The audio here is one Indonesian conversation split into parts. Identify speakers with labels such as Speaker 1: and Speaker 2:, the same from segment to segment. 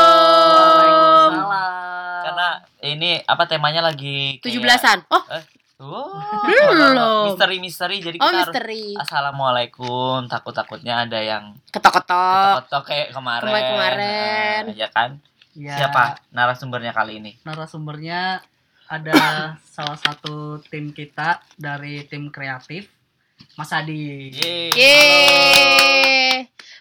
Speaker 1: Assalamualaikum.
Speaker 2: Salam.
Speaker 3: Karena ini apa temanya lagi
Speaker 1: 17-an. Oh, Belum.
Speaker 3: Wow. Misteri-misteri jadi
Speaker 1: Hmm, oh
Speaker 3: kita harus
Speaker 1: misteri.
Speaker 3: Assalamualaikum. Takut-takutnya ada yang
Speaker 1: Ketok-ketok.
Speaker 3: ketok kayak kemarin.
Speaker 1: Oh. Kemarin- kemarin.
Speaker 3: Nah, ya kan?
Speaker 2: Ya,
Speaker 3: Siapa narasumbernya kali ini?
Speaker 2: Narasumbernya ada salah satu tim kita dari tim kreatif, Mas Adi.
Speaker 3: Yeay.
Speaker 1: Yeay.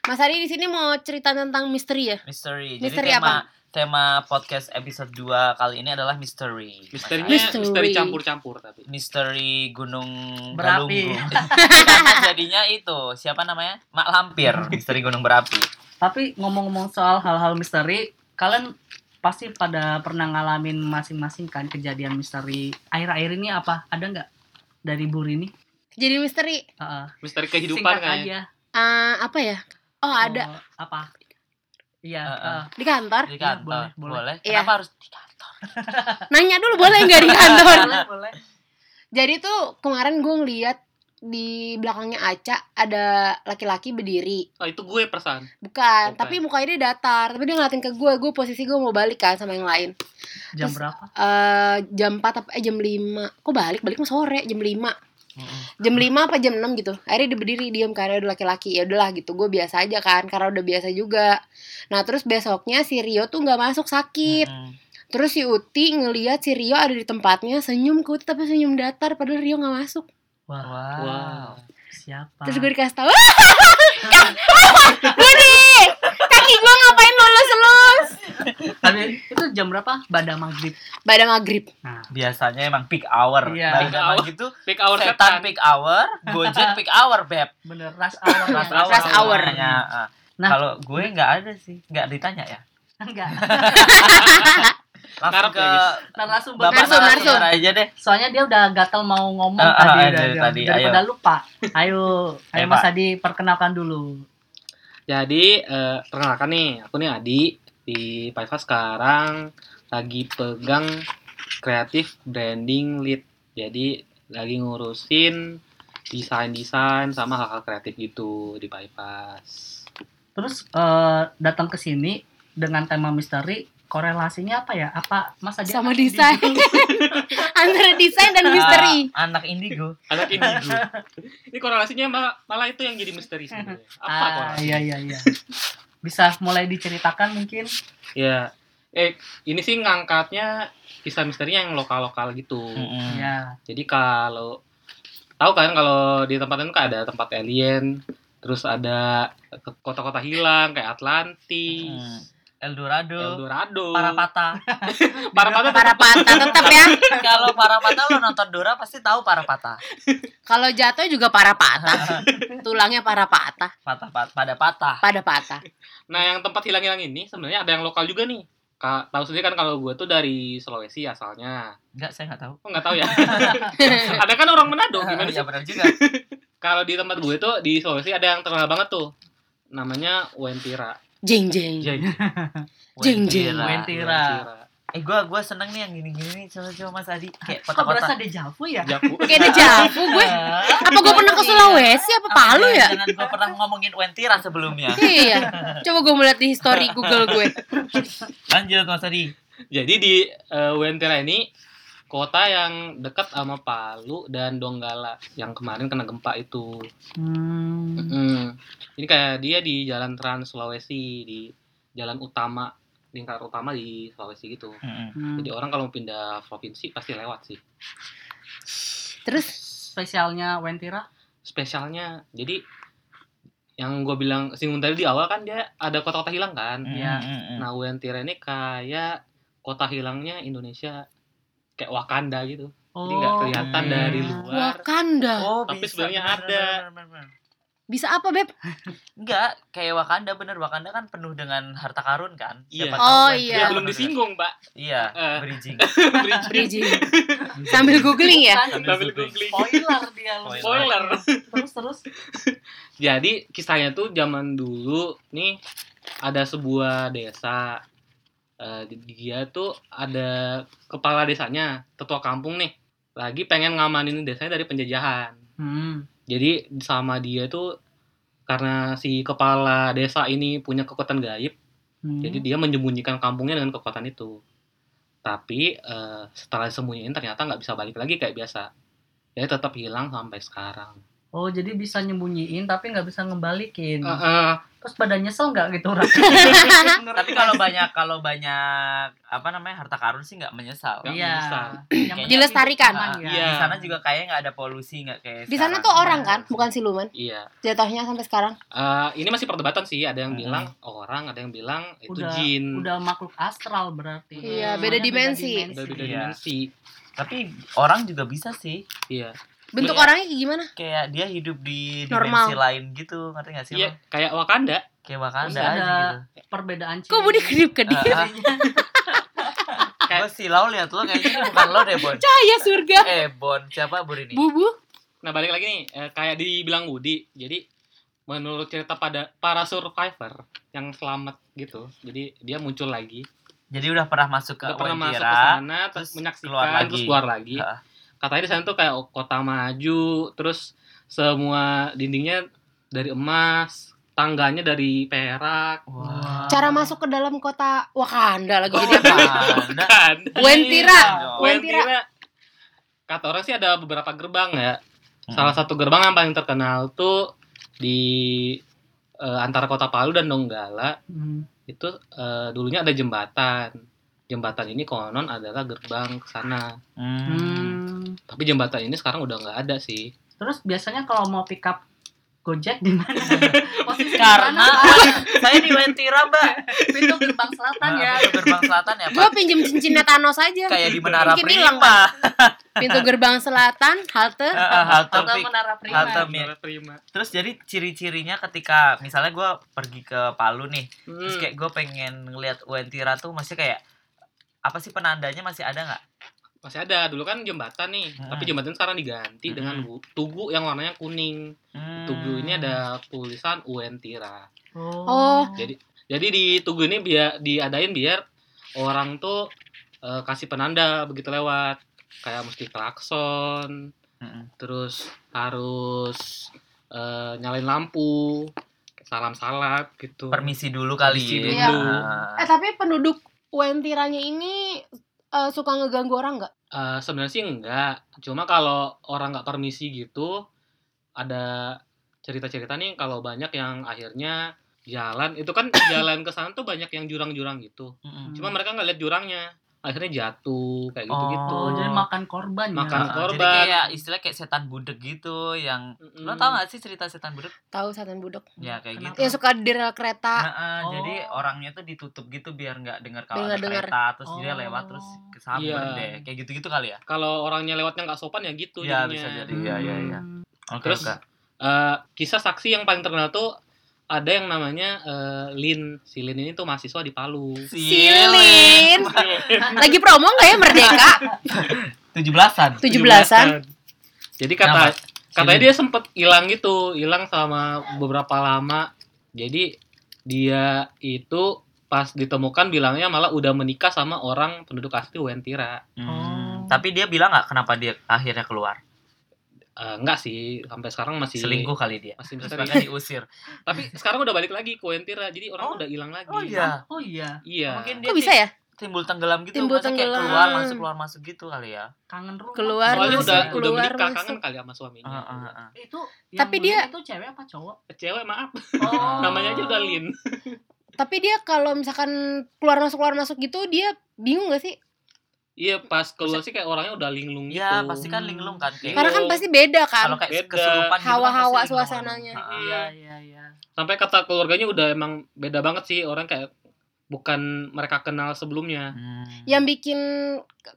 Speaker 1: Mas Ari di sini mau cerita tentang misteri ya?
Speaker 3: Misteri.
Speaker 1: Misteri
Speaker 3: jadi tema tema podcast episode 2 kali ini adalah misteri.
Speaker 4: Misterinya
Speaker 3: Makanya
Speaker 1: Misteri.
Speaker 4: misteri campur-campur tapi.
Speaker 3: misteri Gunung
Speaker 2: Berapi.
Speaker 3: Galunggung. Karena jadinya itu, siapa namanya? Mak Lampir, misteri Gunung Berapi.
Speaker 2: Tapi ngomong-ngomong soal hal-hal misteri, kalian pasti pada pernah ngalamin masing-masing kan kejadian misteri. Akhir-akhir ini apa? Ada nggak dari Bu Rini?
Speaker 1: Jadi misteri
Speaker 2: Heeh.
Speaker 4: Misteri kehidupan
Speaker 2: Singkat
Speaker 4: kayaknya.
Speaker 2: aja.
Speaker 1: eh, apa ya? Oh, ada
Speaker 2: Oh, apa? Iya.
Speaker 3: Eh,
Speaker 2: heeh.
Speaker 1: di kantor.
Speaker 3: Di
Speaker 2: Iya,
Speaker 3: kantor.
Speaker 2: boleh,
Speaker 3: boleh,
Speaker 2: boleh.
Speaker 1: Iya.
Speaker 3: Kenapa harus di kantor?
Speaker 1: Nanya dulu boleh nggak di kantor?
Speaker 2: Boleh, boleh.
Speaker 1: Jadi tuh kemarin gue ngeliat di belakangnya Aca ada laki-laki berdiri.
Speaker 4: Oh, itu gue perasaan.
Speaker 1: Bukan,
Speaker 4: Bukan.
Speaker 1: tapi mukanya dia datar. Tapi dia ngeliatin ke gue, gue posisi gue mau balik kan sama yang lain.
Speaker 2: Jam
Speaker 1: Terus-
Speaker 2: berapa?
Speaker 1: eh jam 4 apa eh, jam 5. Kok balik? Balik mah sore, jam 5.
Speaker 3: Mm-mm.
Speaker 1: Jam 5 apa jam 6 gitu. Akhirnya dia berdiri diam karena udah laki-laki. Ya udahlah gitu. Gue biasa aja kan karena udah biasa juga. Nah, terus besoknya si Rio tuh nggak masuk sakit.
Speaker 3: Mm-mm.
Speaker 1: Terus si Uti ngeliat si Rio ada di tempatnya, senyum ke Uti tapi senyum datar padahal Rio nggak masuk.
Speaker 2: Wah,
Speaker 3: Wow.
Speaker 2: siapa?
Speaker 1: Terus gue dikasih tahu. Kan- Budi, kaki gue ngapain lulus-lulus?
Speaker 2: Tapi itu jam berapa? Pada maghrib.
Speaker 1: Pada maghrib.
Speaker 3: Biasanya emang peak hour.
Speaker 2: Iya.
Speaker 3: Balik
Speaker 4: Peak
Speaker 3: sama
Speaker 4: hour.
Speaker 3: gitu,
Speaker 4: Peak hour
Speaker 3: setan
Speaker 4: setan.
Speaker 3: peak hour, Gojek peak hour, Beb.
Speaker 2: Bener, rush hour. ya?
Speaker 3: Rush
Speaker 1: hour. Rush hour.
Speaker 3: namanya. Ah.
Speaker 2: Nah.
Speaker 3: Kalau gue nggak ada sih, nggak ditanya ya.
Speaker 2: Enggak.
Speaker 3: Langsung
Speaker 4: Ngarep
Speaker 3: ke
Speaker 4: ya, guys.
Speaker 2: Narasumber.
Speaker 3: Bapak
Speaker 1: Narsum, narsum.
Speaker 3: narasumber aja deh.
Speaker 2: Soalnya dia udah gatel mau ngomong
Speaker 3: Ah, ah,
Speaker 2: tadi,
Speaker 3: ah,
Speaker 2: udah-
Speaker 3: dari
Speaker 2: udah-
Speaker 3: tadi,
Speaker 2: daripada lupa. Ayo, ayo
Speaker 3: Ayo,
Speaker 2: Mas
Speaker 3: Pak.
Speaker 2: Adi perkenalkan dulu.
Speaker 4: Jadi, eh, perkenalkan nih, aku nih Adi di Paiva sekarang lagi pegang kreatif branding lead. Jadi, lagi ngurusin desain-desain sama hal-hal kreatif gitu di Paivas.
Speaker 2: Terus eh, datang ke sini dengan tema misteri, korelasinya apa ya? Apa Mas Adi?
Speaker 1: Sama desain. Antara desain dan misteri.
Speaker 3: Ah, anak indigo.
Speaker 4: Anak indigo. Ini korelasinya ma- malah itu yang jadi misteri sebenarnya. Apa
Speaker 2: Ah,
Speaker 4: korelasinya?
Speaker 2: iya iya iya. Bisa mulai diceritakan mungkin?
Speaker 4: Ya, eh ini sih ngangkatnya kisah misterinya yang lokal-lokal gitu.
Speaker 3: Mm-mm.
Speaker 2: Iya.
Speaker 4: Jadi kalau tahu kan kalau di tempat itu kan ada tempat alien, terus ada ke- kota-kota hilang kayak Atlantis,
Speaker 3: Mm. Eldorado.
Speaker 4: Eldorado,
Speaker 3: Parapata.
Speaker 4: Parapata
Speaker 1: Para patah tetap ya.
Speaker 3: Kalau Parapata lo nonton Dora pasti tahu Parapata.
Speaker 1: Kalau jatuh juga para patah. Tulangnya para patah,
Speaker 3: Patah pat- pada patah.
Speaker 1: pada patah.
Speaker 4: Nah, yang tempat hilang-hilang ini sebenarnya ada yang lokal juga nih. Ka- tahu sendiri kan kalau gue tuh dari Sulawesi asalnya.
Speaker 3: Enggak, saya nggak tahu.
Speaker 4: Oh, nggak tahu ya. ada kan orang Manado gimana sih?
Speaker 3: Iya benar juga.
Speaker 4: Kalau di tempat gue tuh di Sulawesi ada yang terkenal banget tuh. Namanya Wentira.
Speaker 1: Jeng jeng.
Speaker 4: Jadi
Speaker 1: Jeng, jeng.
Speaker 3: Wentira.
Speaker 2: Wentira.
Speaker 3: Eh gue gua seneng nih yang gini-gini nih coba-coba Mas Adi kayak
Speaker 2: Kok berasa
Speaker 3: kota-kota.
Speaker 2: dejavu ya?
Speaker 4: Jaku.
Speaker 1: Kayak dejavu gue. Apa gue pernah ke Sulawesi apa Palu ya?
Speaker 3: Jangan gue pernah ngomongin Wentira sebelumnya.
Speaker 1: Iya. Coba gue melihat di history Google gue.
Speaker 3: Lanjut Mas Adi.
Speaker 4: Jadi di eh, Wentera ini kota yang dekat sama Palu dan Donggala yang kemarin kena gempa itu.
Speaker 2: Hmm.
Speaker 4: Mm. Ini kayak dia di Jalan Trans Sulawesi di jalan utama lingkar utama di Sulawesi gitu.
Speaker 3: Mm-mm.
Speaker 2: Hmm.
Speaker 4: Jadi orang kalau pindah provinsi pasti lewat sih.
Speaker 1: Terus
Speaker 2: Spesialnya Wentira?
Speaker 4: Spesialnya jadi yang gue bilang singgung tadi di awal kan dia ada kota-kota hilang kan.
Speaker 3: Hmm.
Speaker 2: Iya.
Speaker 3: Mm-mm.
Speaker 4: Nah Wentera ini kayak kota hilangnya Indonesia kayak Wakanda gitu. Jadi nggak
Speaker 2: Oh.
Speaker 4: kelihatan
Speaker 3: Hmm.
Speaker 4: dari luar.
Speaker 1: Wakanda.
Speaker 3: Oh,
Speaker 4: Nah, Tapi
Speaker 3: bisa,
Speaker 4: sebenarnya
Speaker 3: benar,
Speaker 4: ada.
Speaker 3: benar, benar, benar.
Speaker 1: Bisa apa, Beb?
Speaker 3: Enggak, kayak Wakanda bener Wakanda kan penuh dengan harta karun kan?
Speaker 4: Iya.
Speaker 3: tahu
Speaker 1: Oh,
Speaker 3: Wentira
Speaker 1: iya.
Speaker 4: Ya,
Speaker 3: penuh
Speaker 4: belum
Speaker 3: dengan-
Speaker 4: disinggung, Pak.
Speaker 3: Iya,
Speaker 4: Eh.
Speaker 3: bridging.
Speaker 4: Bridging.
Speaker 1: Jeng. Sambil googling ya.
Speaker 4: Sambil googling.
Speaker 2: Spoiler dia. lu.
Speaker 3: Spoiler.
Speaker 4: Spoiler.
Speaker 2: Terus terus.
Speaker 4: Jadi kisahnya tuh zaman dulu nih ada sebuah desa eh, di- dia tuh ada kepala desanya, tetua kampung nih, lagi pengen ngamanin desanya dari penjajahan.
Speaker 2: Hmm.
Speaker 4: Jadi sama dia tuh karena si kepala desa ini punya kekuatan gaib,
Speaker 2: Hmm.
Speaker 4: jadi dia menyembunyikan kampungnya dengan kekuatan itu. Tapi eh, setelah disembunyiin ternyata nggak bisa balik lagi kayak biasa. Jadi tetap hilang sampai sekarang.
Speaker 2: oh jadi bisa nyembunyiin tapi nggak bisa ngembalikin.
Speaker 4: Eh, eh,
Speaker 2: Terus pada nyesel nggak gitu orang?
Speaker 3: Tapi kalau banyak kalau banyak apa namanya harta karun sih nggak menyesal. Ah,
Speaker 4: Nggak
Speaker 2: iya.
Speaker 4: menyesal.
Speaker 2: Yang penting
Speaker 1: Dilestarikan.
Speaker 2: aman, kan?
Speaker 4: Iya.
Speaker 3: Di sana juga kayaknya nggak ada polusi nggak kayak.
Speaker 1: Di sana
Speaker 3: sekarang.
Speaker 1: tuh orang kan, bukan siluman.
Speaker 4: iya.
Speaker 1: Jatuhnya sampai sekarang.
Speaker 4: Eh, ini masih perdebatan sih, ada yang
Speaker 3: Mm-mm.
Speaker 4: bilang orang, ada yang bilang itu
Speaker 2: Udah-
Speaker 4: jin.
Speaker 2: Udah makhluk astral berarti.
Speaker 1: Iya,
Speaker 4: Hmm.
Speaker 1: beda
Speaker 2: Soalnya
Speaker 1: dimensi.
Speaker 4: Udah beda
Speaker 3: Iya.
Speaker 4: dimensi.
Speaker 3: Tapi orang juga bisa sih.
Speaker 4: Iya.
Speaker 1: Bentuk
Speaker 3: Iya.
Speaker 1: orangnya kayak gimana?
Speaker 3: Kayak dia hidup di
Speaker 1: Normal.
Speaker 3: dimensi lain gitu, ngerti nggak sih?
Speaker 4: Iya,
Speaker 3: lo?
Speaker 4: kayak Wakanda.
Speaker 3: Kayak Wakanda
Speaker 2: Terus ada-
Speaker 3: aja gitu.
Speaker 2: Perbedaan ciri.
Speaker 1: Kok budi kedip-kedip?
Speaker 3: Ah, ah. Gue sih lau lihat lo kayaknya ini bukan lo deh Bon.
Speaker 1: Cahaya surga.
Speaker 3: Eh Bon siapa Bon ini?
Speaker 1: Bubu.
Speaker 4: Nah, balik lagi nih, eh, kayak dibilang Woody. Jadi menurut cerita pada para survivor yang selamat gitu. Jadi dia muncul lagi.
Speaker 3: Jadi udah pernah masuk ke
Speaker 4: Udah pernah masuk ke
Speaker 3: Wendiera.
Speaker 4: sana, terus
Speaker 3: terus
Speaker 4: menyaksikan,
Speaker 3: keluar lagi.
Speaker 4: terus keluar lagi.
Speaker 3: Ah.
Speaker 4: Katanya di sana tuh kayak kota maju, terus semua dindingnya dari emas, tangganya dari perak.
Speaker 3: Wah.
Speaker 1: Cara masuk ke dalam kota Wakanda
Speaker 3: Oh.
Speaker 1: lagi jadi apa?
Speaker 3: Wakanda.
Speaker 4: Kan?
Speaker 1: Wentira.
Speaker 3: Iya.
Speaker 1: Wentira.
Speaker 4: Wentira. Kata orang sih ada beberapa gerbang ya.
Speaker 3: Hmm.
Speaker 4: Salah satu gerbang yang paling terkenal tuh di eh, antara kota Palu dan Donggala
Speaker 2: Hmm.
Speaker 4: itu eh, dulunya ada jembatan. Jembatan ini konon adalah gerbang ke sana.
Speaker 3: Hmm.
Speaker 2: Hmm.
Speaker 4: Tapi jembatan ini sekarang udah nggak ada sih.
Speaker 2: Terus biasanya kalau mau pick up Gojek di mana? Posisi di
Speaker 3: Karena
Speaker 2: mana?
Speaker 3: saya di Wentira, Mbak.
Speaker 2: pintu gerbang selatan ya.
Speaker 3: Nah, gerbang selatan ya,
Speaker 1: Gue
Speaker 3: Pak.
Speaker 1: pinjem cincinnya Thanos aja.
Speaker 3: Kayak di Menara
Speaker 1: Mungkin
Speaker 3: Prima.
Speaker 1: hilang, Pintu gerbang selatan, halte.
Speaker 3: Ah, ah, halte
Speaker 2: Atau
Speaker 3: Pri-
Speaker 2: menara prima.
Speaker 3: Halte Mi.
Speaker 4: terima.
Speaker 3: Terus jadi ciri-cirinya ketika misalnya gue pergi ke Palu nih, terus
Speaker 4: Hmm.
Speaker 3: kayak gue pengen ngeliat Wentira tuh masih kayak apa sih penandanya masih ada nggak?
Speaker 4: Masih ada. Dulu kan jembatan nih.
Speaker 3: Hmm.
Speaker 4: Tapi jembatan sekarang diganti
Speaker 3: Hmm.
Speaker 4: dengan bu- tugu yang warnanya kuning.
Speaker 3: Hmm.
Speaker 4: Tugu ini ada tulisan Uentira.
Speaker 1: Oh.
Speaker 4: Jadi- Jadi di tugu ini biar diadain biar orang tuh eh, kasih penanda begitu lewat. Kayak mesti klakson,
Speaker 3: Mm-mm.
Speaker 4: terus harus eh, nyalain lampu, salam salat gitu.
Speaker 3: permisi dulu kali.
Speaker 4: Permisi
Speaker 1: dulu.
Speaker 3: Ah.
Speaker 1: Eh tapi penduduk Wentiranya ini eh, suka ngeganggu orang nggak?
Speaker 4: Eh, Sebenarnya sih enggak. Cuma kalau orang nggak permisi gitu, ada cerita-cerita nih kalau banyak yang akhirnya jalan itu kan jalan ke sana tuh banyak yang jurang-jurang gitu.
Speaker 3: Mm-mm.
Speaker 4: Cuma mereka nggak lihat jurangnya, akhirnya jatuh kayak gitu-gitu.
Speaker 2: Oh, jadi makan korban
Speaker 4: Makan
Speaker 2: ya.
Speaker 3: Ah, Jadi
Speaker 4: korban.
Speaker 3: kayak istilah kayak setan budek gitu yang
Speaker 4: Mm-mm.
Speaker 3: lo tau gak sih cerita setan budek?
Speaker 1: Tahu setan budok.
Speaker 3: Ya kayak
Speaker 2: Kenapa?
Speaker 3: gitu.
Speaker 1: Yang suka di rel kereta.
Speaker 3: Nah, eh,
Speaker 2: Oh.
Speaker 3: jadi orangnya tuh ditutup gitu biar nggak dengar kalau ada
Speaker 1: Dengar-dengar.
Speaker 3: kereta terus dia
Speaker 2: Oh.
Speaker 3: lewat terus kesambet
Speaker 4: Iya.
Speaker 3: deh kayak gitu-gitu kali ya
Speaker 4: Kalau orangnya lewatnya nggak sopan ya gitu
Speaker 3: Iya,
Speaker 4: jadinya.
Speaker 3: bisa jadi. Iya, iya, iya.
Speaker 2: Hmm.
Speaker 3: oke
Speaker 4: Terus Eh, kisah saksi yang paling terkenal tuh ada yang namanya eh, Lin. Si Lin ini tuh mahasiswa di Palu.
Speaker 1: Silin. Lagi promo nggak ya Merdeka?
Speaker 3: tujuh belasan
Speaker 1: 17-an.
Speaker 4: Jadi kata katanya dia sempet hilang gitu, hilang sama beberapa lama. Jadi dia itu pas ditemukan bilangnya malah udah menikah sama orang penduduk asli Wentira.
Speaker 2: Oh.
Speaker 3: Hmm. tapi dia bilang nggak kenapa dia akhirnya keluar
Speaker 4: Eh, enggak sih, sampai sekarang masih
Speaker 3: selingkuh kali dia
Speaker 4: Masih
Speaker 3: terus
Speaker 4: misteri.
Speaker 3: bahkan diusir
Speaker 4: Tapi sekarang udah balik lagi ke Wentira. Jadi orang
Speaker 3: Oh.
Speaker 4: udah hilang lagi.
Speaker 3: oh iya
Speaker 2: Oh iya,
Speaker 4: Iya.
Speaker 3: mungkin dia
Speaker 1: Kok bisa ya?
Speaker 3: timbul tenggelam gitu
Speaker 1: Timbul
Speaker 3: Maksudnya
Speaker 1: tenggelam.
Speaker 3: kayak keluar masuk keluar masuk gitu kali ya
Speaker 2: kangen rumah.
Speaker 1: Keluar
Speaker 4: Soalnya
Speaker 1: masuk,
Speaker 4: udah udah
Speaker 1: keluar
Speaker 4: menikah
Speaker 1: masuk.
Speaker 4: kangen kali sama suaminya.
Speaker 3: Ah, ah,
Speaker 4: Gitu.
Speaker 3: ah.
Speaker 2: Itu
Speaker 1: Tapi
Speaker 2: yang
Speaker 1: dia-
Speaker 2: beli itu cewek apa cowok?
Speaker 4: Cewek maaf,
Speaker 2: Oh.
Speaker 4: namanya aja udah Lin.
Speaker 1: Tapi dia kalau misalkan keluar masuk keluar masuk gitu dia bingung gak sih?
Speaker 4: Iya, pas keluar sih kayak orangnya udah linglung gitu.
Speaker 3: ya pasti kan linglung kan kayak
Speaker 1: Karena kan pasti beda
Speaker 3: kalau
Speaker 1: kan.
Speaker 3: kayak
Speaker 4: Beda.
Speaker 3: kesurupan gitu kan
Speaker 1: Hawa-hawa
Speaker 3: pasti linglung.
Speaker 1: suasananya.
Speaker 3: Ah, ah.
Speaker 2: Iya, iya, iya.
Speaker 4: Sampai kata keluarganya udah emang beda banget sih orang kayak bukan mereka kenal sebelumnya.
Speaker 3: Hmm.
Speaker 1: Yang bikin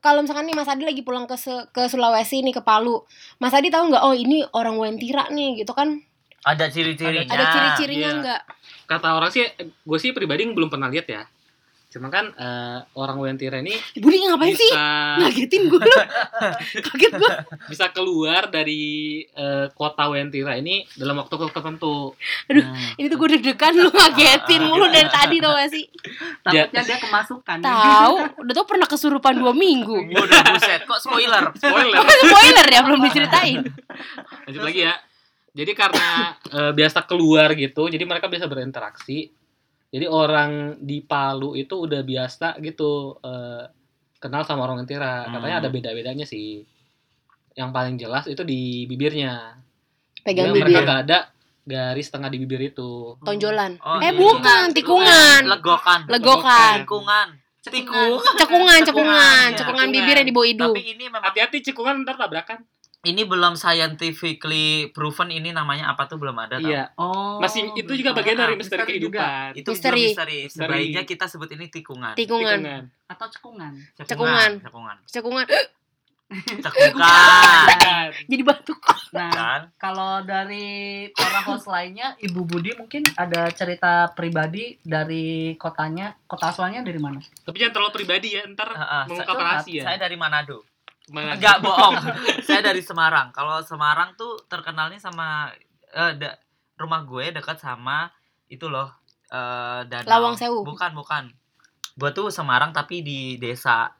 Speaker 1: kalau misalkan nih Mas Adi lagi pulang ke Se- ke Sulawesi nih ke Palu, Mas Adi tahu nggak? Oh ini orang Wentira nih gitu kan?
Speaker 3: ada Nah. ciri-cirinya
Speaker 1: Ada ciri-cirinya
Speaker 4: iya.
Speaker 1: nggak?
Speaker 4: Kata orang sih, gue sih pribadi belum pernah lihat ya. Cuma kan eh, orang Wentira ini
Speaker 1: Budi ngapain sih? Nah.
Speaker 4: bisa
Speaker 1: Ngagetin gue dong. Kaget gue.
Speaker 4: bisa keluar dari eh, kota Wentira ini dalam waktu tertentu.
Speaker 3: Hmm.
Speaker 1: Aduh.
Speaker 4: Nah,
Speaker 1: Ini tuh gue deg-degan lu ngagetin mulu dari tadi tau gak sih?
Speaker 2: Takutnya dia kemasukan.
Speaker 1: Tahu, udah tau pernah kesurupan dua minggu.
Speaker 3: Waduh buset, kok spoiler?
Speaker 4: spoiler.
Speaker 1: Spoiler ya belum diceritain.
Speaker 4: Lanjut lagi ya. Jadi karena eh, biasa keluar gitu, jadi mereka biasa berinteraksi. Jadi orang di Palu itu udah biasa gitu eh, kenal sama orang Wentira. Katanya
Speaker 3: Hmm.
Speaker 4: ada beda-bedanya sih. Yang paling jelas itu di bibirnya.
Speaker 1: Pegang
Speaker 4: Jadi Iya, Mereka
Speaker 1: bibir.
Speaker 4: gak ada garis tengah di bibir itu.
Speaker 1: Tonjolan.
Speaker 3: Oh,
Speaker 1: eh
Speaker 3: iya.
Speaker 1: bukan, tikungan.
Speaker 3: Legokan.
Speaker 1: Legokan.
Speaker 3: Tikungan. Cetikung.
Speaker 1: Cekungan, cekungan,
Speaker 3: Cekungan,
Speaker 1: cekungan
Speaker 4: ya,
Speaker 1: bibir yang di bawah hidung.
Speaker 3: Tapi ini memang
Speaker 4: Hati-hati cekungan ntar tabrakan.
Speaker 3: ini belum scientifically proven ini namanya apa tuh belum ada tau.
Speaker 4: Iya.
Speaker 2: Oh.
Speaker 4: Masih itu juga
Speaker 2: betul.
Speaker 4: bagian dari
Speaker 2: Ah,
Speaker 4: misteri
Speaker 2: juga.
Speaker 4: kehidupan.
Speaker 3: Kan Itu
Speaker 1: Misteri.
Speaker 3: misteri. misteri. Sebaiknya kita sebut ini tikungan.
Speaker 1: Tikungan,
Speaker 4: Tikungan.
Speaker 2: Atau cekungan.
Speaker 1: Cekungan.
Speaker 3: Cekungan.
Speaker 1: cekungan.
Speaker 3: Cekungan.
Speaker 4: Bukan.
Speaker 1: Jadi batuk.
Speaker 2: Nah,
Speaker 3: Kan?
Speaker 2: kalau dari para host lainnya, Ibu Budi mungkin ada cerita pribadi dari kotanya, kota asalnya dari mana?
Speaker 4: Tapi jangan terlalu pribadi ya, ntar
Speaker 3: Heeh, sa-
Speaker 4: mengungkap ya? rahasia.
Speaker 3: Saya dari Manado.
Speaker 4: Mana?
Speaker 3: Enggak bohong. saya dari Semarang. Kalau Semarang tuh terkenalnya sama eh, da- rumah gue dekat sama itu loh eh danau.
Speaker 1: Lawang Sewu.
Speaker 3: Bukan, bukan. Gue tuh Semarang tapi di desa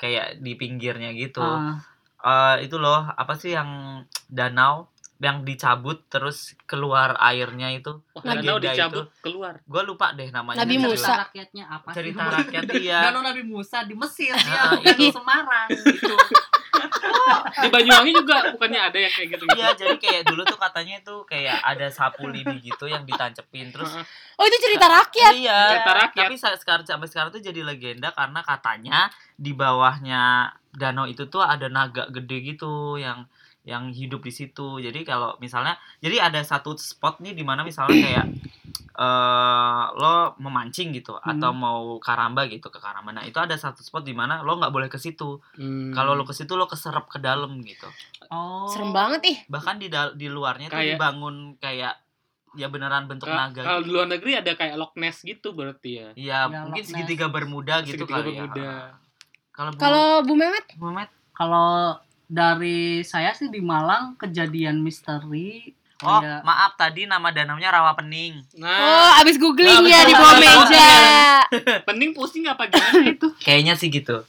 Speaker 3: kayak di pinggirnya gitu.
Speaker 1: Oh.
Speaker 2: Ah,
Speaker 3: Eh, itu loh apa sih yang danau yang dicabut terus keluar airnya itu.
Speaker 4: Wah,
Speaker 1: Nabi-
Speaker 4: danau dicabut keluar.
Speaker 3: Gue lupa deh namanya.
Speaker 1: Nabi
Speaker 3: Cerita-
Speaker 2: cerita
Speaker 1: Musa.
Speaker 2: rakyatnya apa sih?
Speaker 3: Cerita rakyat iya. dia.
Speaker 2: Danau Nabi Musa di Mesir
Speaker 3: Ah,
Speaker 2: ya, bukan di
Speaker 1: iya.
Speaker 2: Semarang.
Speaker 4: Di Banyuwangi juga bukannya ada yang kayak gitu.
Speaker 3: Iya, jadi kayak dulu tuh katanya itu kayak ada sapu lidi gitu yang ditancepin terus
Speaker 1: Oh itu cerita rakyat.
Speaker 3: Iya.
Speaker 4: Cerita rakyat.
Speaker 3: Tapi sa- sekarang sampai sekarang tuh jadi legenda karena katanya di bawahnya danau itu tuh ada naga gede gitu yang yang hidup di situ. Jadi kalau misalnya jadi ada satu spot nih di mana misalnya kayak eh lo memancing gitu atau mau karamba gitu ke karamba. Nah, itu ada satu spot di mana lo nggak boleh ke situ.
Speaker 4: Hmm.
Speaker 3: Kalau lo ke situ lo keserap ke dalam gitu.
Speaker 2: Oh.
Speaker 1: Serem banget ih.
Speaker 3: Bahkan di dal- di luarnya tuh
Speaker 4: Kayak-
Speaker 3: dibangun kayak ya beneran bentuk
Speaker 4: Ka-
Speaker 3: naga. gitu.
Speaker 4: Kalau di luar negeri ada kayak Loch Ness gitu berarti ya.
Speaker 3: Iya,
Speaker 2: Ya,
Speaker 3: mungkin
Speaker 2: Loch Ness.
Speaker 3: segitiga bermuda gitu
Speaker 4: Segitiga
Speaker 3: kali
Speaker 4: bermuda.
Speaker 3: ya. Kalau Bu-
Speaker 1: Kalau Bu Mehmet
Speaker 3: Muhammad
Speaker 2: Kalau dari saya sih di Malang kejadian misteri
Speaker 3: Oh,
Speaker 2: ada-
Speaker 3: maaf tadi nama danaunya rawa pening.
Speaker 1: Oh, abis googling
Speaker 4: Ah. Nah,
Speaker 1: ya
Speaker 4: abis
Speaker 1: di bawah
Speaker 4: googling.
Speaker 1: meja.
Speaker 4: Mending pusing apa gimana itu?
Speaker 3: Kayaknya sih gitu.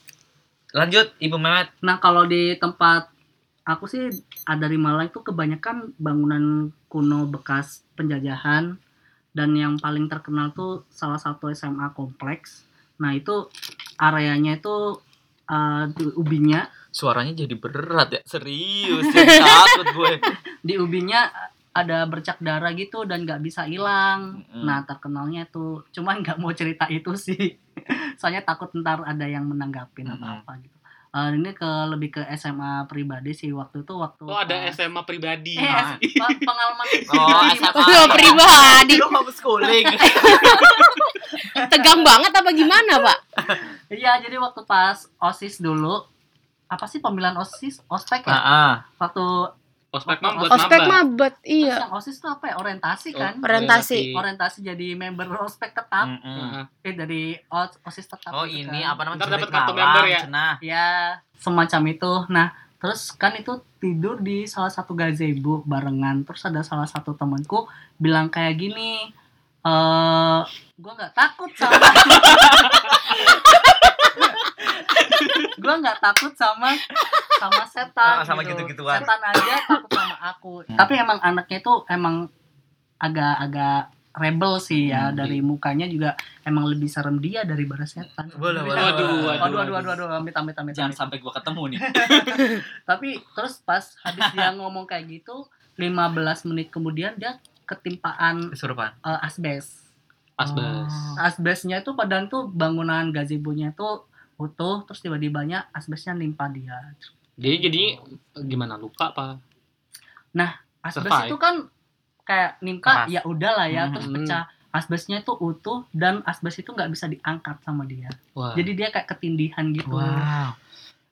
Speaker 3: Lanjut Ibu Mehmet.
Speaker 2: Nah kalau di tempat aku sih ada di Malang itu kebanyakan bangunan kuno bekas penjajahan dan yang paling terkenal tuh salah satu SMA kompleks. Nah itu areanya itu eh, di Ubinya,
Speaker 3: Suaranya jadi berat ya. Serius, jadi takut gue.
Speaker 2: di Ubinya ada bercak darah gitu dan nggak bisa hilang.
Speaker 4: Hmm.
Speaker 3: Mm-mm.
Speaker 2: Nah terkenalnya tuh, cuman nggak mau cerita itu sih, soalnya takut ntar ada yang menanggapin atau
Speaker 3: Mm-mm.
Speaker 4: Hmm.
Speaker 2: apa gitu. Eh, ini ke lebih ke SMA pribadi sih waktu itu waktu
Speaker 4: Oh ada
Speaker 2: pas-
Speaker 4: SMA pribadi.
Speaker 2: Eh,
Speaker 3: Nah.
Speaker 2: pe- pengalaman
Speaker 3: Oh,
Speaker 1: Lo
Speaker 3: SMA.
Speaker 1: pribadi
Speaker 3: Lu homeschooling.
Speaker 1: tegang banget apa gimana, Pak?
Speaker 2: Iya, jadi waktu pas OSIS dulu apa sih pemilihan OSIS? Ospek ya?
Speaker 3: Heeh.
Speaker 2: Waktu
Speaker 4: Ospek mah buat
Speaker 1: Ospek
Speaker 4: maba.
Speaker 1: mabet,
Speaker 2: terus
Speaker 1: iya.
Speaker 2: yang OSIS tuh apa ya? Orientasi
Speaker 4: Oh,
Speaker 2: kan?
Speaker 1: Orientasi.
Speaker 2: Orientasi jadi member ospek tetap.
Speaker 3: Mm-mm.
Speaker 2: Eh dari os- OSIS tetap.
Speaker 3: Hmm. Oh,
Speaker 2: gitu
Speaker 3: ini
Speaker 2: kan.
Speaker 3: apa namanya?
Speaker 4: Ntar dapat
Speaker 3: Jurik
Speaker 4: kartu
Speaker 3: Malang,
Speaker 4: member ya.
Speaker 3: Cenah.
Speaker 2: Ya, semacam itu. Nah, terus kan itu tidur di salah satu gazebo barengan. Terus ada salah satu temanku bilang kayak gini, eh gua nggak takut sama gua nggak takut sama sama setan gitu.
Speaker 3: Ah, sama gitu-gituan.
Speaker 2: setan aja takut sama aku tapi emang anaknya itu emang agak-agak rebel sih ya
Speaker 3: Hmm.
Speaker 2: dari mukanya juga emang lebih serem dia daripada setan
Speaker 3: Boleh, boleh.
Speaker 4: Waduh,
Speaker 2: Waduh,
Speaker 4: waduh,
Speaker 2: waduh, waduh, waduh, amit, amit, amit,
Speaker 3: Jangan
Speaker 2: amit.
Speaker 3: sampai gue ketemu nih.
Speaker 2: Tapi terus pas habis dia ngomong kayak gitu, 15 menit kemudian dia ketimpaan
Speaker 3: Kesurupan.
Speaker 2: eh, asbes.
Speaker 4: Asbes.
Speaker 2: Oh. Asbesnya itu padahal tuh bangunan gazebo-nya tuh utuh, terus tiba-tibanya asbesnya nimpa dia.
Speaker 4: Jadi jadi gimana luka apa?
Speaker 2: Asbes
Speaker 4: Survive.
Speaker 2: itu kan kayak nimpa,
Speaker 3: Keras. Hmm.
Speaker 2: ya udahlah ya, terus
Speaker 4: Mhm.
Speaker 2: pecah. Asbesnya itu utuh dan asbes itu nggak bisa diangkat sama dia.
Speaker 4: Wah.
Speaker 2: Jadi dia kayak ketindihan gitu.
Speaker 3: Wow.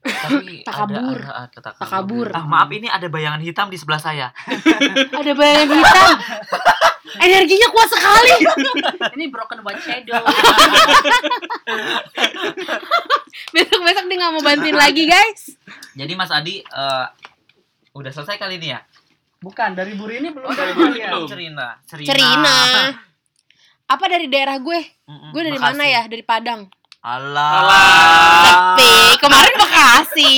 Speaker 3: Tapi
Speaker 1: Takabur.
Speaker 3: ada, ada kata
Speaker 1: Takabur.
Speaker 3: Ah, maaf ini ada bayangan hitam di sebelah saya.
Speaker 1: Ada bayangan hitam. Energinya kuat sekali.
Speaker 2: Ini broken white shadow.
Speaker 1: mau bantuin lagi guys.
Speaker 3: Jadi Mas Adi eh, udah selesai kali ini ya?
Speaker 2: Bukan dari Buri ini belum
Speaker 3: Oh, dari
Speaker 2: kalian.
Speaker 3: Buri belum. Cerina. Cerina.
Speaker 1: Cerina. Apa dari daerah gue?
Speaker 3: Mm-mm,
Speaker 1: Gue dari
Speaker 3: Bekasi.
Speaker 1: mana ya? Dari Padang.
Speaker 3: Alah.
Speaker 1: Tapi kemarin Bekasi.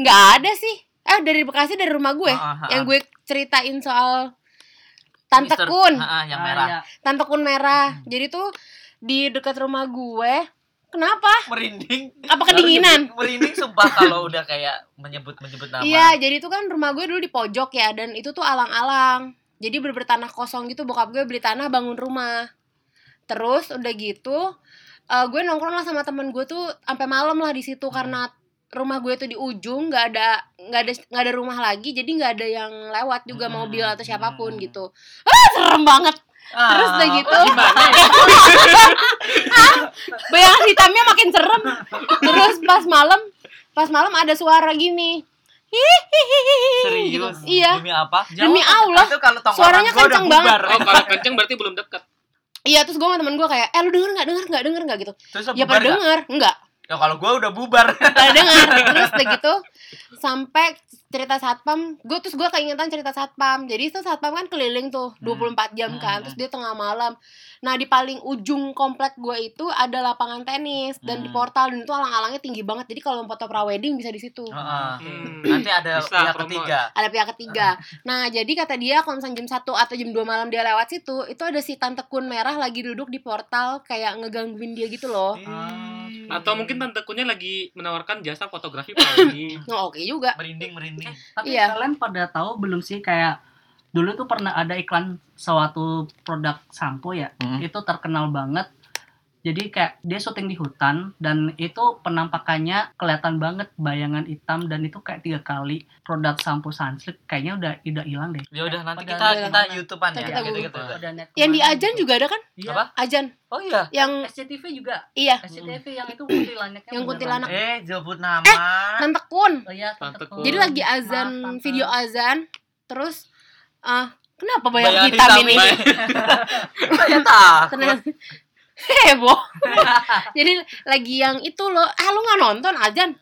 Speaker 1: Nggak ada sih. Eh dari Bekasi dari rumah gue.
Speaker 3: Ah, ah, ah.
Speaker 1: Yang gue ceritain soal Tante
Speaker 3: Mister-
Speaker 1: Kun.
Speaker 3: Ah, Hmm. ah, yang
Speaker 2: Ah,
Speaker 3: merah.
Speaker 2: iya.
Speaker 1: Tante Kun merah. Jadi tuh di dekat rumah gue. Kenapa?
Speaker 3: Merinding.
Speaker 1: Apa kedinginan?
Speaker 3: Merinding sumpah kalau udah kayak menyebut-menyebut nama.
Speaker 1: Iya, jadi itu kan rumah gue dulu di pojok ya dan itu tuh alang-alang. Jadi bener tanah kosong gitu bokap gue beli tanah bangun rumah. Terus udah gitu eh, gue nongkrong lah sama temen gue tuh sampai malam lah di situ karena rumah gue tuh di ujung nggak ada nggak ada nggak ada rumah lagi jadi nggak ada yang lewat juga
Speaker 3: Hmm.
Speaker 1: mobil atau siapapun gitu ah serem banget terus udah
Speaker 3: Oh,
Speaker 1: gitu Ah, bayangan hitamnya makin serem terus pas malam pas malam ada suara gini hihihihi
Speaker 3: Serius.
Speaker 1: gitu. iya
Speaker 3: Demi apa?
Speaker 1: Demi Allah.
Speaker 3: Itu kalau tongkrongan
Speaker 1: Suaranya
Speaker 3: gua udah
Speaker 1: kenceng banget.
Speaker 3: bubar.
Speaker 4: Oh, kalau kenceng berarti belum dekat.
Speaker 1: iya terus gue sama temen gue kayak eh lu denger nggak denger nggak denger nggak gitu
Speaker 3: Terus
Speaker 1: ya
Speaker 3: bubar
Speaker 1: pada denger nggak
Speaker 3: nggak? Ya kalau gua udah bubar.
Speaker 1: pada denger terus udah gitu sampai cerita satpam gue terus gue keingetan cerita satpam jadi itu satpam kan keliling tuh 24 jam kan terus dia tengah malam nah di paling ujung komplek gue itu ada lapangan tenis dan di
Speaker 3: Hmm.
Speaker 1: portal dan itu alang-alangnya tinggi banget jadi kalau mau foto prawedding bisa di situ
Speaker 3: Heeh.
Speaker 4: Hmm.
Speaker 3: Nanti ada
Speaker 4: Bisa,
Speaker 3: pihak
Speaker 4: promo.
Speaker 3: ketiga.
Speaker 1: ada pihak ketiga. Nah, jadi kata dia kalau misalnya jam 1 atau jam 2 malam dia lewat situ, itu ada si tante kun merah lagi duduk di portal kayak ngegangguin dia gitu loh.
Speaker 4: Atau mungkin tante kunya lagi menawarkan jasa fotografi pagi.
Speaker 1: Oh, oke juga.
Speaker 3: merinding merinding.
Speaker 2: Tapi
Speaker 1: Iya.
Speaker 2: kalian pada tahu belum sih kayak dulu tuh pernah ada iklan suatu produk sampo ya.
Speaker 3: Hmm.
Speaker 2: Itu terkenal banget. Jadi kayak dia syuting di hutan dan itu penampakannya kelihatan banget bayangan hitam dan itu kayak tiga kali produk sampo sunsilk kayaknya udah udah hilang deh.
Speaker 3: Ya udah nanti
Speaker 2: Pada
Speaker 3: kita
Speaker 1: ada
Speaker 3: kita
Speaker 2: yang-
Speaker 3: YouTubean ya.
Speaker 1: Nanti
Speaker 3: Kita
Speaker 1: kita
Speaker 3: gitu,
Speaker 1: Google.
Speaker 3: gitu.
Speaker 1: Yang di Ajan juga ada kan?
Speaker 2: Iya.
Speaker 3: Apa?
Speaker 1: Ajan
Speaker 3: Oh iya.
Speaker 1: yang
Speaker 2: SCTV juga.
Speaker 1: iya,
Speaker 2: SCTV yang itu kuntilanaknya.
Speaker 1: Yang
Speaker 2: beneran.
Speaker 1: kuntilanak.
Speaker 3: Eh, jemput nama.
Speaker 1: tante kun.
Speaker 2: Oh iya,
Speaker 4: Tante Kun.
Speaker 1: Jadi lagi azan,
Speaker 2: Maaf, Tante.
Speaker 1: video azan, terus ah kenapa
Speaker 3: Bayar
Speaker 1: bayang hitam ini?
Speaker 3: Saya takut.
Speaker 1: Kenapa? Heboh. Jadi lagi yang itu loh, ah lu nggak nonton Ajan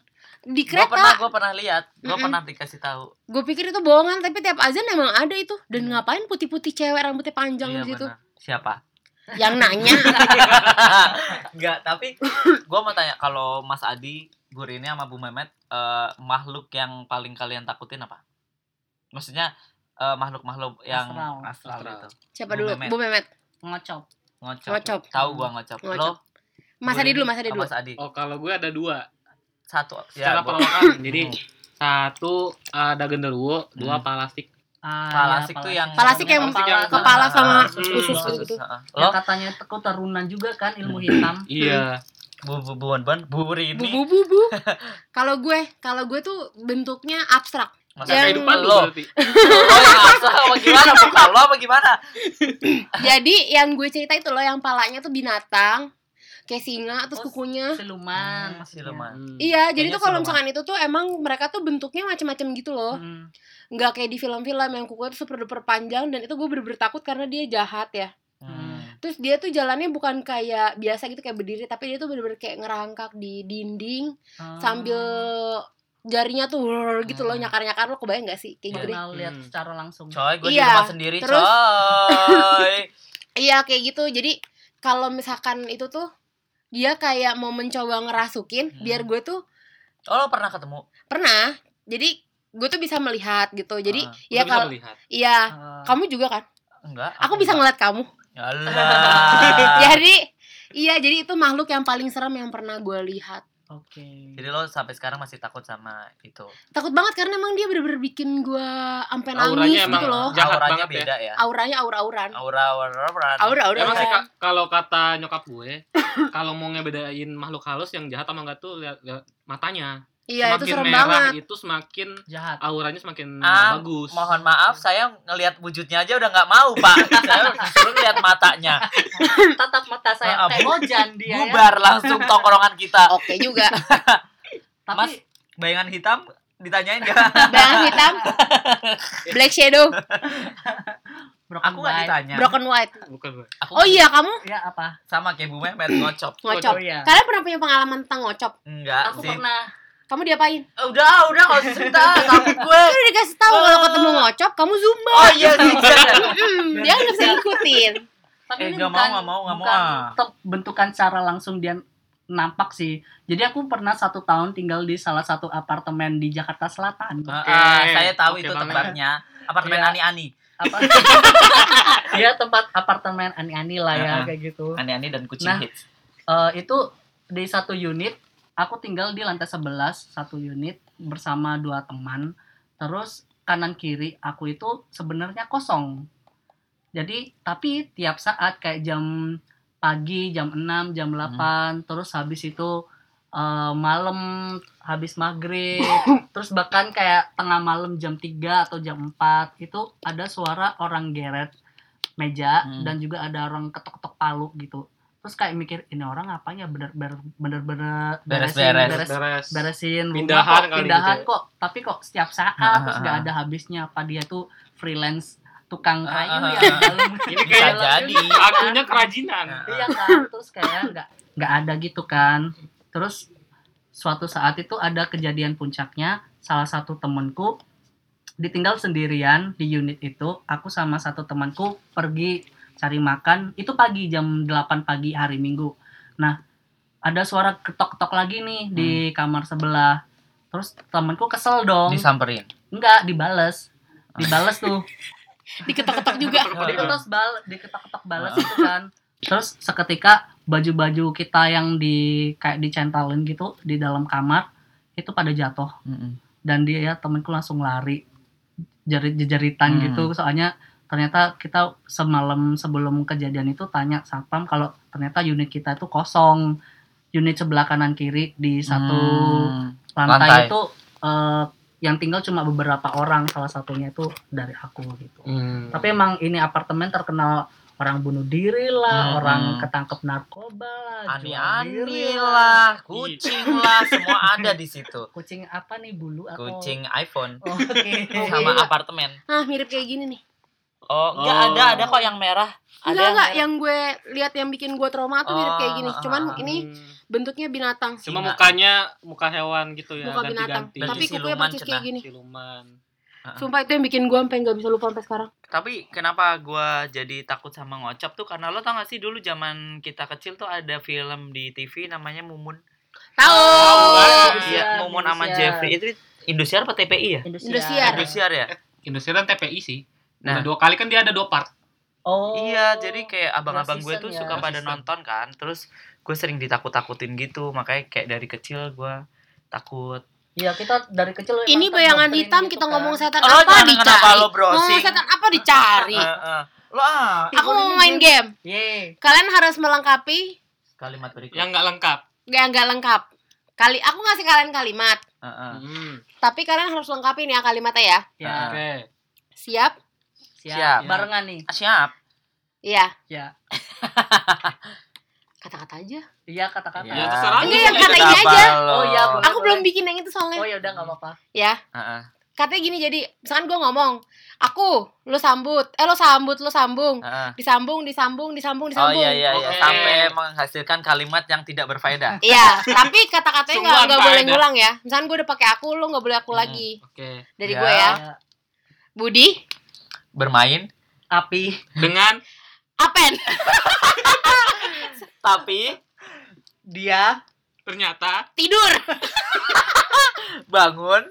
Speaker 1: di
Speaker 3: Gue pernah
Speaker 1: kereta.
Speaker 3: gue pernah lihat. Gue
Speaker 1: Mm-mm.
Speaker 3: pernah dikasih tahu.
Speaker 1: Gue pikir itu bohongan, tapi tiap azan emang ada itu. Dan ngapain putih-putih cewek rambutnya panjang
Speaker 3: Hmm. Iya,
Speaker 1: di situ?
Speaker 3: benar. Siapa?
Speaker 1: Yang nanya.
Speaker 3: Enggak, tapi gue mau tanya kalau Mas Adi, Bu Rini sama Bu Memet eh, makhluk yang paling kalian takutin apa? Maksudnya eh, makhluk-makhluk yang astral,
Speaker 2: Astral.
Speaker 4: Astral.
Speaker 3: gitu.
Speaker 1: Siapa
Speaker 3: Bu
Speaker 1: dulu?
Speaker 3: Memet.
Speaker 1: Bu Memet.
Speaker 2: ngocok.
Speaker 3: Ngocok.
Speaker 1: Ngocok.
Speaker 3: Tahu gua ngocok. Lo?
Speaker 1: Ngocok. Mas
Speaker 3: Bu
Speaker 1: Adi
Speaker 3: Rini,
Speaker 1: dulu, Mas Adi
Speaker 3: sama
Speaker 1: dulu.
Speaker 3: Mas Adi.
Speaker 4: Oh, kalau gue ada dua.
Speaker 3: Satu. ya,
Speaker 4: Secara
Speaker 3: gua-
Speaker 4: perawakan. Ya, Jadi satu eh, ada genderuwo, dua
Speaker 3: Hmm.
Speaker 4: palastik.
Speaker 2: Ah,
Speaker 3: Palasik
Speaker 2: iya,
Speaker 3: tuh yang
Speaker 1: Palasik yang
Speaker 4: Palasik
Speaker 1: ya,
Speaker 4: yang-
Speaker 1: Kepala sama
Speaker 3: Ah,
Speaker 4: Hmm.
Speaker 1: usus
Speaker 3: ah,
Speaker 1: gitu.
Speaker 3: ah, ah. Lo?
Speaker 2: yang katanya teku taruna juga kan ilmu hitam.
Speaker 4: Iya.
Speaker 3: Bu Bu Bu Bon Bon, Bu Rini.
Speaker 1: Bu bu bu bu. Kalau gue, kalau gue tuh bentuknya abstrak.
Speaker 3: Masa
Speaker 1: Yang-
Speaker 4: Kehidupan lu
Speaker 3: lo.
Speaker 4: berarti.
Speaker 3: Lo yang asal apa gimana? Muka lo apa gimana?
Speaker 1: Jadi yang gue cerita itu loh yang palanya tuh binatang, kayak singa terus
Speaker 2: Oh,
Speaker 1: kukunya.
Speaker 3: Hmm,
Speaker 2: Siluman, maksudnya.
Speaker 3: siluman.
Speaker 1: Ah, Iya, jadi
Speaker 3: Kayaknya
Speaker 1: tuh kalau
Speaker 3: serem
Speaker 1: misalkan itu tuh emang mereka tuh bentuknya macam-macam gitu loh.
Speaker 2: Hmm.
Speaker 1: Nggak kayak di film-film yang kukunya tuh super duper panjang dan itu gue bener-bener takut karena dia jahat ya.
Speaker 3: Hmm.
Speaker 1: Terus dia tuh jalannya bukan kayak biasa gitu kayak berdiri tapi dia tuh bener-bener kayak ngerangkak di dinding
Speaker 2: Hmm.
Speaker 1: Oh, sambil jarinya tuh wrrr gitu loh
Speaker 3: Ah. Hmm. Iya,
Speaker 1: nyakar-nyakar lo kebayang gak sih kayak gitu deh.
Speaker 2: Pernah lihat
Speaker 4: Hmm.
Speaker 2: secara langsung.
Speaker 3: Coy, gue di
Speaker 1: Iya,
Speaker 3: rumah sendiri,
Speaker 1: terus-
Speaker 3: coy.
Speaker 1: Iya kayak gitu. Jadi kalau misalkan itu tuh dia kayak mau mencoba ngerasukin
Speaker 3: Hmm.
Speaker 1: biar gue tuh
Speaker 3: Oh, lo pernah ketemu?
Speaker 1: pernah. Jadi gue tuh bisa melihat gitu. Jadi
Speaker 3: Ah,
Speaker 1: ya
Speaker 4: Lu bisa
Speaker 1: kalau
Speaker 4: melihat.
Speaker 1: iya
Speaker 2: Eh,
Speaker 1: kamu juga kan.
Speaker 3: Enggak.
Speaker 1: Aku bisa Ya, ngeliat kamu.
Speaker 4: Ah.
Speaker 3: Alah.
Speaker 1: Jadi iya jadi itu makhluk yang paling serem yang pernah gue lihat.
Speaker 2: Oke.
Speaker 3: Jadi lo sampai sekarang masih takut sama itu.
Speaker 1: Takut banget karena emang dia bener-bener bikin gue ampe
Speaker 4: Auranya
Speaker 1: nangis
Speaker 4: emang
Speaker 1: gitu loh.
Speaker 4: jahat
Speaker 3: Auranya
Speaker 4: banget ya.
Speaker 3: beda ya.
Speaker 1: Auranya aura-auran.
Speaker 3: Aura aura aura.
Speaker 1: Aura-auran.
Speaker 4: Emang sih Kak, kalau kata nyokap gue, kalau mau ngebedain makhluk halus yang jahat sama enggak tuh lihat, lihat matanya.
Speaker 1: Iya itu
Speaker 4: semakin
Speaker 1: serem
Speaker 4: merah
Speaker 1: banget.
Speaker 4: itu semakin
Speaker 2: Jahat.
Speaker 4: auranya semakin
Speaker 3: Ah,
Speaker 4: bagus.
Speaker 3: Mohon maaf, saya ngelihat wujudnya aja udah nggak mau, Pak. Kan saya disuruh ngelihat matanya.
Speaker 2: Tatap mata
Speaker 3: Ah,
Speaker 2: saya kayak
Speaker 3: bu-
Speaker 2: bojan dia ya.
Speaker 3: Bubar langsung tongkrongan
Speaker 4: Iya.
Speaker 3: kita.
Speaker 1: Oke juga.
Speaker 2: Tapi
Speaker 3: Mas, bayangan hitam ditanyain gak?
Speaker 1: Bayangan hitam. Black shadow,
Speaker 2: broken
Speaker 3: Aku nggak
Speaker 2: bite.
Speaker 4: Ya.
Speaker 3: ditanya.
Speaker 1: broken white.
Speaker 4: Bukan.
Speaker 3: Aku
Speaker 1: Oh iya kamu
Speaker 2: Ya apa?
Speaker 3: sama kayak Bu Mehmet ngocok.
Speaker 1: ngocok.
Speaker 2: Oh, iya.
Speaker 1: Kalian pernah punya pengalaman tentang ngocok?
Speaker 3: Enggak
Speaker 2: Aku
Speaker 3: sih.
Speaker 2: pernah
Speaker 1: Kamu diapain?
Speaker 3: Eh, udah udah kalau cerita takut gue
Speaker 1: Udah dikasih
Speaker 4: Oh.
Speaker 1: tahu kalau ketemu ngocop, kamu zumba.
Speaker 3: oh iya zigzag ya.
Speaker 1: Mm, dia nggak bisa ngikutin.
Speaker 2: Tapi
Speaker 3: Eh,
Speaker 2: ini
Speaker 3: nggak mau,
Speaker 2: bukan-
Speaker 3: nggak mau, nggak mau,
Speaker 2: bukan
Speaker 3: ah.
Speaker 2: te- bentukan secara langsung dia nampak sih. Jadi aku pernah satu tahun tinggal di salah satu apartemen di Jakarta Selatan.
Speaker 3: Ah, ah, saya tahu
Speaker 4: Oke
Speaker 3: itu
Speaker 4: banget.
Speaker 3: tempatnya apartemen
Speaker 2: Iya.
Speaker 3: ani-ani
Speaker 2: Apa? ya tempat apartemen ani-ani lah ya
Speaker 3: Ah.
Speaker 2: kayak gitu.
Speaker 3: ani-ani dan kucing
Speaker 2: Nah.
Speaker 3: hits
Speaker 2: Eh, itu di satu unit aku tinggal di lantai 11 satu unit bersama dua teman terus kanan kiri aku itu sebenarnya kosong jadi tapi tiap saat kayak jam pagi jam 6 jam 8 terus habis itu eh, malam habis maghrib terus bahkan kayak tengah malam jam 3 atau jam 4 itu ada suara orang geret meja
Speaker 3: Hmm.
Speaker 2: dan juga ada orang ketok-ketok palu gitu terus kayak mikir ini orang ngapain ya bener bener bener bener
Speaker 3: Beres-beres.
Speaker 2: beres
Speaker 4: Beres.
Speaker 2: beresin rumah
Speaker 4: Pindahan
Speaker 2: kok,
Speaker 4: kali
Speaker 2: pindahan
Speaker 4: gitu
Speaker 2: kok tapi kok setiap saat
Speaker 3: Ah,
Speaker 2: terus
Speaker 3: ah,
Speaker 2: nggak
Speaker 3: ah.
Speaker 2: ada habisnya apa dia tuh freelance tukang
Speaker 3: Ah,
Speaker 2: kayu
Speaker 3: ah, ah.
Speaker 2: ya
Speaker 4: Ini
Speaker 3: bisa
Speaker 4: kayak gitu.
Speaker 3: jadi
Speaker 4: akunya kerajinan.
Speaker 1: Nah.
Speaker 2: iya kan terus kayak nggak nggak ada gitu kan terus suatu saat itu ada kejadian puncaknya salah satu temanku ditinggal sendirian di unit itu aku sama satu temanku pergi cari makan itu pagi jam 8 pagi hari minggu nah ada suara ketok-ketok lagi nih di kamar sebelah terus temanku kesel dong
Speaker 3: disamperin
Speaker 2: enggak dibales dibales tuh
Speaker 1: Diketok-ketok juga.
Speaker 2: diketok bal diketok-ketok balas gitu kan terus seketika baju-baju kita yang di kayak dicentalin gitu di dalam kamar itu pada jatuh
Speaker 3: Mm-mm.
Speaker 2: dan dia ya, temenku langsung lari jerit jeritan
Speaker 3: Hmm.
Speaker 2: gitu soalnya ternyata kita semalam sebelum kejadian itu tanya satpam kalau ternyata unit kita itu kosong unit sebelah kanan kiri di satu
Speaker 3: Hmm.
Speaker 2: lantai,
Speaker 3: Lantai.
Speaker 2: itu eh, yang tinggal cuma beberapa orang salah satunya itu dari aku gitu
Speaker 4: Hmm.
Speaker 2: tapi emang ini apartemen terkenal orang bunuh diri
Speaker 3: Hmm.
Speaker 2: lah orang ketangkep narkoba lah jual
Speaker 3: ani-ani
Speaker 2: diri
Speaker 3: lah kucing lah semua ada di situ
Speaker 2: kucing apa nih bulu atau
Speaker 3: kucing iPhone
Speaker 2: Oh, oke
Speaker 3: sama apartemen
Speaker 1: Nah, mirip kayak gini nih.
Speaker 3: oh enggak
Speaker 4: Oh.
Speaker 3: ada ada kok yang merah ada
Speaker 1: Enggak, enggak.
Speaker 3: merah.
Speaker 1: Yang gue lihat yang bikin gue trauma tuh mirip kayak gini.
Speaker 3: Oh,
Speaker 1: Cuman
Speaker 3: ah,
Speaker 1: ini bentuknya binatang.
Speaker 4: Hmm. Cuma
Speaker 3: Singa.
Speaker 4: mukanya muka hewan gitu
Speaker 3: Iya,
Speaker 4: ya,
Speaker 1: Muka binatang.
Speaker 4: ganti-ganti.
Speaker 1: Tapi
Speaker 3: Berarti
Speaker 1: kukunya
Speaker 3: siluman,
Speaker 1: persis kayak
Speaker 3: Cenah.
Speaker 1: gini.
Speaker 4: siluman.
Speaker 1: Sumpah itu yang bikin gue sampai nggak bisa lupa sampai sekarang.
Speaker 3: Iya, Tapi kenapa gua jadi takut sama ngocap tuh karena lo tau gak sih dulu zaman kita kecil tuh ada film di TV namanya Mumun.
Speaker 1: Tahu.
Speaker 3: Iya, Mumun sama Jeffrey itu Indosiar apa TPI ya?
Speaker 1: Indosiar.
Speaker 3: Indosiar ya.
Speaker 4: Industri dan TPI sih.
Speaker 3: Nah.
Speaker 4: Nah, dua kali kan dia ada dua part.
Speaker 2: oh
Speaker 3: Iya, jadi kayak abang-abang gue tuh
Speaker 2: season ya.
Speaker 3: suka
Speaker 4: Last
Speaker 3: pada
Speaker 4: season.
Speaker 3: nonton kan. Terus gue sering ditakut-takutin gitu, makanya kayak dari kecil gua takut.
Speaker 2: iya kita dari kecil
Speaker 1: Ini
Speaker 2: emang
Speaker 1: bayangan
Speaker 2: terdoktrin
Speaker 1: hitam
Speaker 2: gitu
Speaker 1: kita
Speaker 2: kan.
Speaker 1: ngomong setan
Speaker 3: Lo
Speaker 1: apa
Speaker 3: Oh, jangan
Speaker 1: dicari.
Speaker 3: kenapa lo
Speaker 1: Ngomong
Speaker 3: browsing. ah.
Speaker 1: setan apa dicari.
Speaker 3: Heeh. Lo ah,
Speaker 1: Aku mau main game.
Speaker 2: Yeay.
Speaker 1: Kalian harus melengkapi
Speaker 3: kalimat berikut.
Speaker 4: Yang nggak lengkap.
Speaker 1: yang nggak lengkap. Kali aku ngasih kalian kalimat,
Speaker 3: Heeh.
Speaker 4: Hmm.
Speaker 1: tapi kalian harus lengkapin ya kalimatnya ya.
Speaker 3: Ah.
Speaker 2: ya
Speaker 4: Oke.
Speaker 1: Siap?
Speaker 2: siap.
Speaker 3: Siap.
Speaker 2: barengan nih
Speaker 3: Siap.
Speaker 1: Iya.
Speaker 2: ya
Speaker 1: Kata-kata aja.
Speaker 2: iya kata-kata
Speaker 4: Ya, terserah
Speaker 1: Enggak, yang
Speaker 3: Itu
Speaker 1: kata ini
Speaker 3: double.
Speaker 1: aja.
Speaker 2: Oh, iya, boleh.
Speaker 1: Aku belum bikin yang itu
Speaker 2: oh
Speaker 1: soalnya.
Speaker 2: ya udah nggak apa-apa
Speaker 1: Ya.
Speaker 3: Heeh.
Speaker 1: Katanya gini jadi, misalkan gue ngomong, aku, lu sambut, eh lu sambut, lu sambung,
Speaker 3: Heeh.
Speaker 1: disambung, disambung, disambung,
Speaker 3: Oh
Speaker 1: disambung.
Speaker 3: iya iya iya
Speaker 4: Oke.
Speaker 3: sampai menghasilkan kalimat yang tidak berfaedah.
Speaker 1: Iya, tapi kata-katanya nggak
Speaker 4: Sungguhan
Speaker 1: nggak boleh
Speaker 4: faedah.
Speaker 1: ngulang ya. Misalkan gue udah pakai aku, lu nggak boleh aku
Speaker 3: Hmm.
Speaker 1: lagi
Speaker 4: Oke.
Speaker 1: dari
Speaker 3: Ya.
Speaker 1: gue ya.
Speaker 2: Ya.
Speaker 1: Budi,
Speaker 3: Bermain
Speaker 2: api
Speaker 4: Dengan
Speaker 1: apen?
Speaker 3: tapi
Speaker 2: dia
Speaker 4: ternyata
Speaker 1: Tidur.
Speaker 3: bangun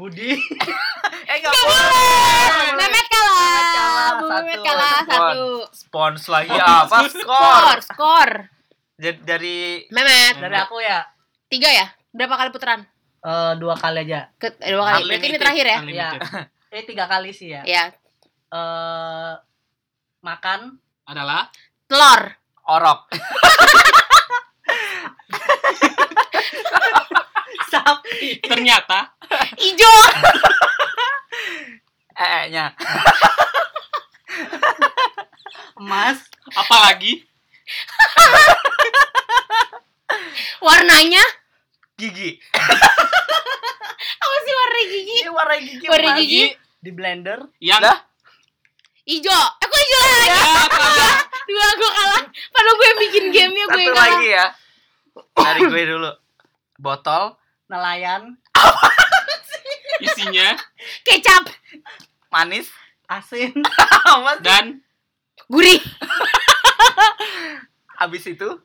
Speaker 2: Budi
Speaker 3: eh enggak boleh.
Speaker 1: Mehmet kalah.
Speaker 3: Mehmet kalah,
Speaker 1: Bu
Speaker 3: satu.
Speaker 1: Mehmet kalah
Speaker 3: Spons.
Speaker 1: satu.
Speaker 3: Spons lagi apa? Skor.
Speaker 1: Skor, skor.
Speaker 3: Jadi dari
Speaker 1: Mehmet,
Speaker 3: Hmm.
Speaker 2: dari aku ya
Speaker 1: tiga ya? Berapa kali putaran?
Speaker 2: eh, dua kali aja
Speaker 1: Ke, eh, dua kali. Berarti ini
Speaker 4: Unlimited,
Speaker 1: terakhir ya?
Speaker 4: unlimited.
Speaker 2: eh tiga kali sih ya
Speaker 1: Iya.
Speaker 2: eh makan
Speaker 4: Adalah
Speaker 1: Telur.
Speaker 3: orok.
Speaker 2: sapi
Speaker 4: ternyata
Speaker 1: Ijo.
Speaker 3: Eh-nya.
Speaker 2: emas
Speaker 4: apalagi
Speaker 1: Warnanya?
Speaker 3: Gigi.
Speaker 1: Apa sih warna gigi?
Speaker 3: Ini warna gigi.
Speaker 1: Warna
Speaker 3: Mas.
Speaker 1: gigi?
Speaker 2: di blender
Speaker 4: yang
Speaker 3: Lah.
Speaker 1: Ijo. Aku ijo lagi. Dua gue kalah.
Speaker 3: ya.
Speaker 1: Padahal gue yang bikin gamenya gue
Speaker 3: Satu
Speaker 1: yang kalah.
Speaker 3: lagi ya. Dari gue dulu. Botol
Speaker 2: nelayan,
Speaker 5: Isinya
Speaker 1: Kecap,
Speaker 3: manis
Speaker 2: asin,
Speaker 3: amat
Speaker 5: dan
Speaker 1: gurih,
Speaker 3: habis itu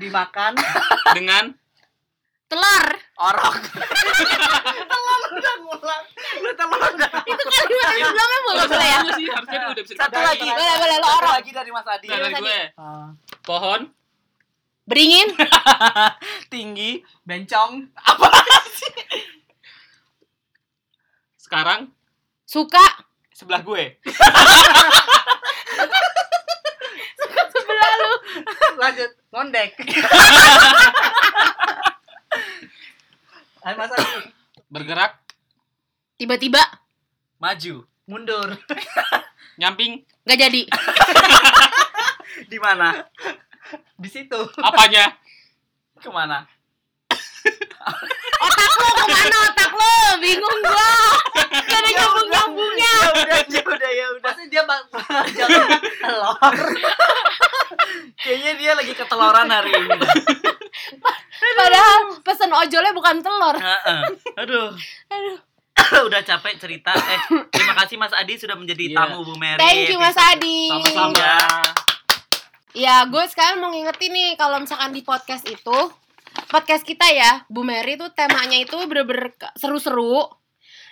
Speaker 2: dimakan,
Speaker 5: dengan
Speaker 1: telur.
Speaker 3: orok telur udah ngulang lu telur udah
Speaker 1: Itu kan kalimat yang sebelumnya boleh boleh ya.
Speaker 5: Sama sih, harusnya dia udah bisa
Speaker 3: satu
Speaker 5: dipotong.
Speaker 3: lagi
Speaker 1: Boleh boleh lo
Speaker 3: satu
Speaker 1: orang.
Speaker 3: lagi dari Mas Adi
Speaker 5: Nah, dari gue.
Speaker 2: eh,
Speaker 5: Pohon,
Speaker 1: Beringin,
Speaker 3: tinggi bencong
Speaker 5: sekarang
Speaker 1: suka,
Speaker 5: sebelah gue.
Speaker 2: lanjut ngondek.
Speaker 3: Ayo Mas Adi
Speaker 5: Bergerak,
Speaker 1: tiba-tiba
Speaker 3: maju
Speaker 2: Mundur.
Speaker 5: nyamping,
Speaker 1: nggak jadi.
Speaker 3: di mana di situ
Speaker 5: apanya?
Speaker 3: kemana
Speaker 1: Otak lo kemana otak lo? Bingung gua. Gak ada nyambung nyambungnya.
Speaker 3: ya udah ya udah ya udah
Speaker 2: Pasti dia bang jangan telur.
Speaker 3: kayaknya dia lagi keteloran hari ini
Speaker 1: Padahal pesen ojolnya bukan telur.
Speaker 3: Heeh. aduh
Speaker 1: Aduh.
Speaker 3: udah capek cerita eh terima kasih Mas Adi sudah menjadi
Speaker 5: Iya.
Speaker 3: tamu Bu Mary
Speaker 1: Thank you Mas Adi.
Speaker 5: Sama-sama.
Speaker 3: Iya.
Speaker 1: Ya, gue sekarang mau ngingetin nih kalau misalkan di podcast itu podcast kita ya, Bu Mary tuh temanya itu bener-bener ke- seru-seru.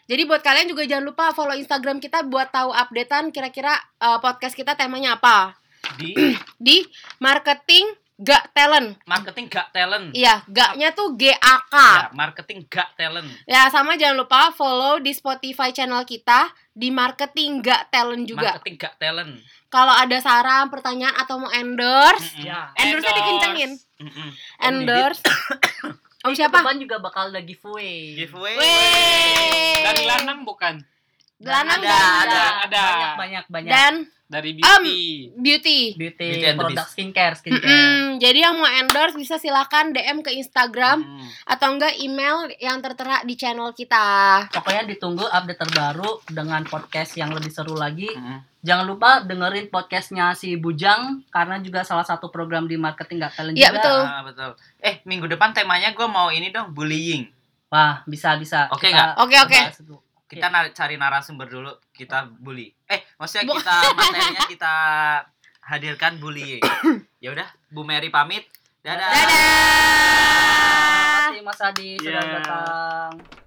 Speaker 1: Jadi buat kalian juga jangan lupa follow Instagram kita buat tahu updatean kira-kira eh, podcast kita temanya apa.
Speaker 3: di
Speaker 1: Di marketing gak talent.
Speaker 3: marketing gak talent
Speaker 1: Iya, gaknya tuh G A K.
Speaker 3: Ya, marketing gak talent
Speaker 1: Ya, sama jangan lupa follow di Spotify channel kita di marketing gak talent juga.
Speaker 3: marketing gak talent
Speaker 1: Kalau ada saran, pertanyaan atau mau endorse,
Speaker 3: Mm-mm.
Speaker 4: Iya.
Speaker 2: Ya.
Speaker 1: endorse-nya
Speaker 5: Endorse.
Speaker 1: dikencengin.
Speaker 3: Mm-mm.
Speaker 2: Om
Speaker 1: Endorse. Om siapa?
Speaker 2: Kebetulan juga bakal ada giveaway.
Speaker 3: giveaway
Speaker 1: Wey.
Speaker 5: Dari lanang bukan,
Speaker 1: Lanang
Speaker 2: ada,
Speaker 1: dan-
Speaker 2: ada,
Speaker 5: ada.
Speaker 2: Banyak, banyak, banyak.
Speaker 1: Dan
Speaker 5: dari beauty.
Speaker 1: beauty.
Speaker 2: beauty,
Speaker 3: Beauty and the
Speaker 2: produk
Speaker 3: Beast.
Speaker 2: skincare, skincare.
Speaker 1: Mm-mm. Jadi yang mau endorse bisa silahkan DM ke Instagram
Speaker 3: Mm.
Speaker 1: atau enggak email yang tertera di channel kita.
Speaker 2: Pokoknya ditunggu update terbaru dengan podcast yang lebih seru lagi.
Speaker 3: Mm.
Speaker 2: Jangan lupa dengerin podcastnya si Bujang karena juga salah satu program di marketing gak talent
Speaker 1: Iya,
Speaker 2: juga.
Speaker 1: betul.
Speaker 3: Ah, betul eh minggu depan temanya gue mau ini dong bullying
Speaker 2: Wah bisa bisa.
Speaker 3: Oke nggak?
Speaker 2: Kita
Speaker 1: Oke, oke.
Speaker 2: bahas dulu.
Speaker 3: kita
Speaker 1: Iya.
Speaker 3: na- cari narasumber dulu kita bully eh maksudnya
Speaker 1: Bu-
Speaker 3: kita materinya kita hadirkan bullying ya udah Bu Mary pamit dadah,
Speaker 1: Dadah.
Speaker 2: Terima kasih Mas Adi sudah
Speaker 3: Iya.
Speaker 5: Yeah.
Speaker 2: datang.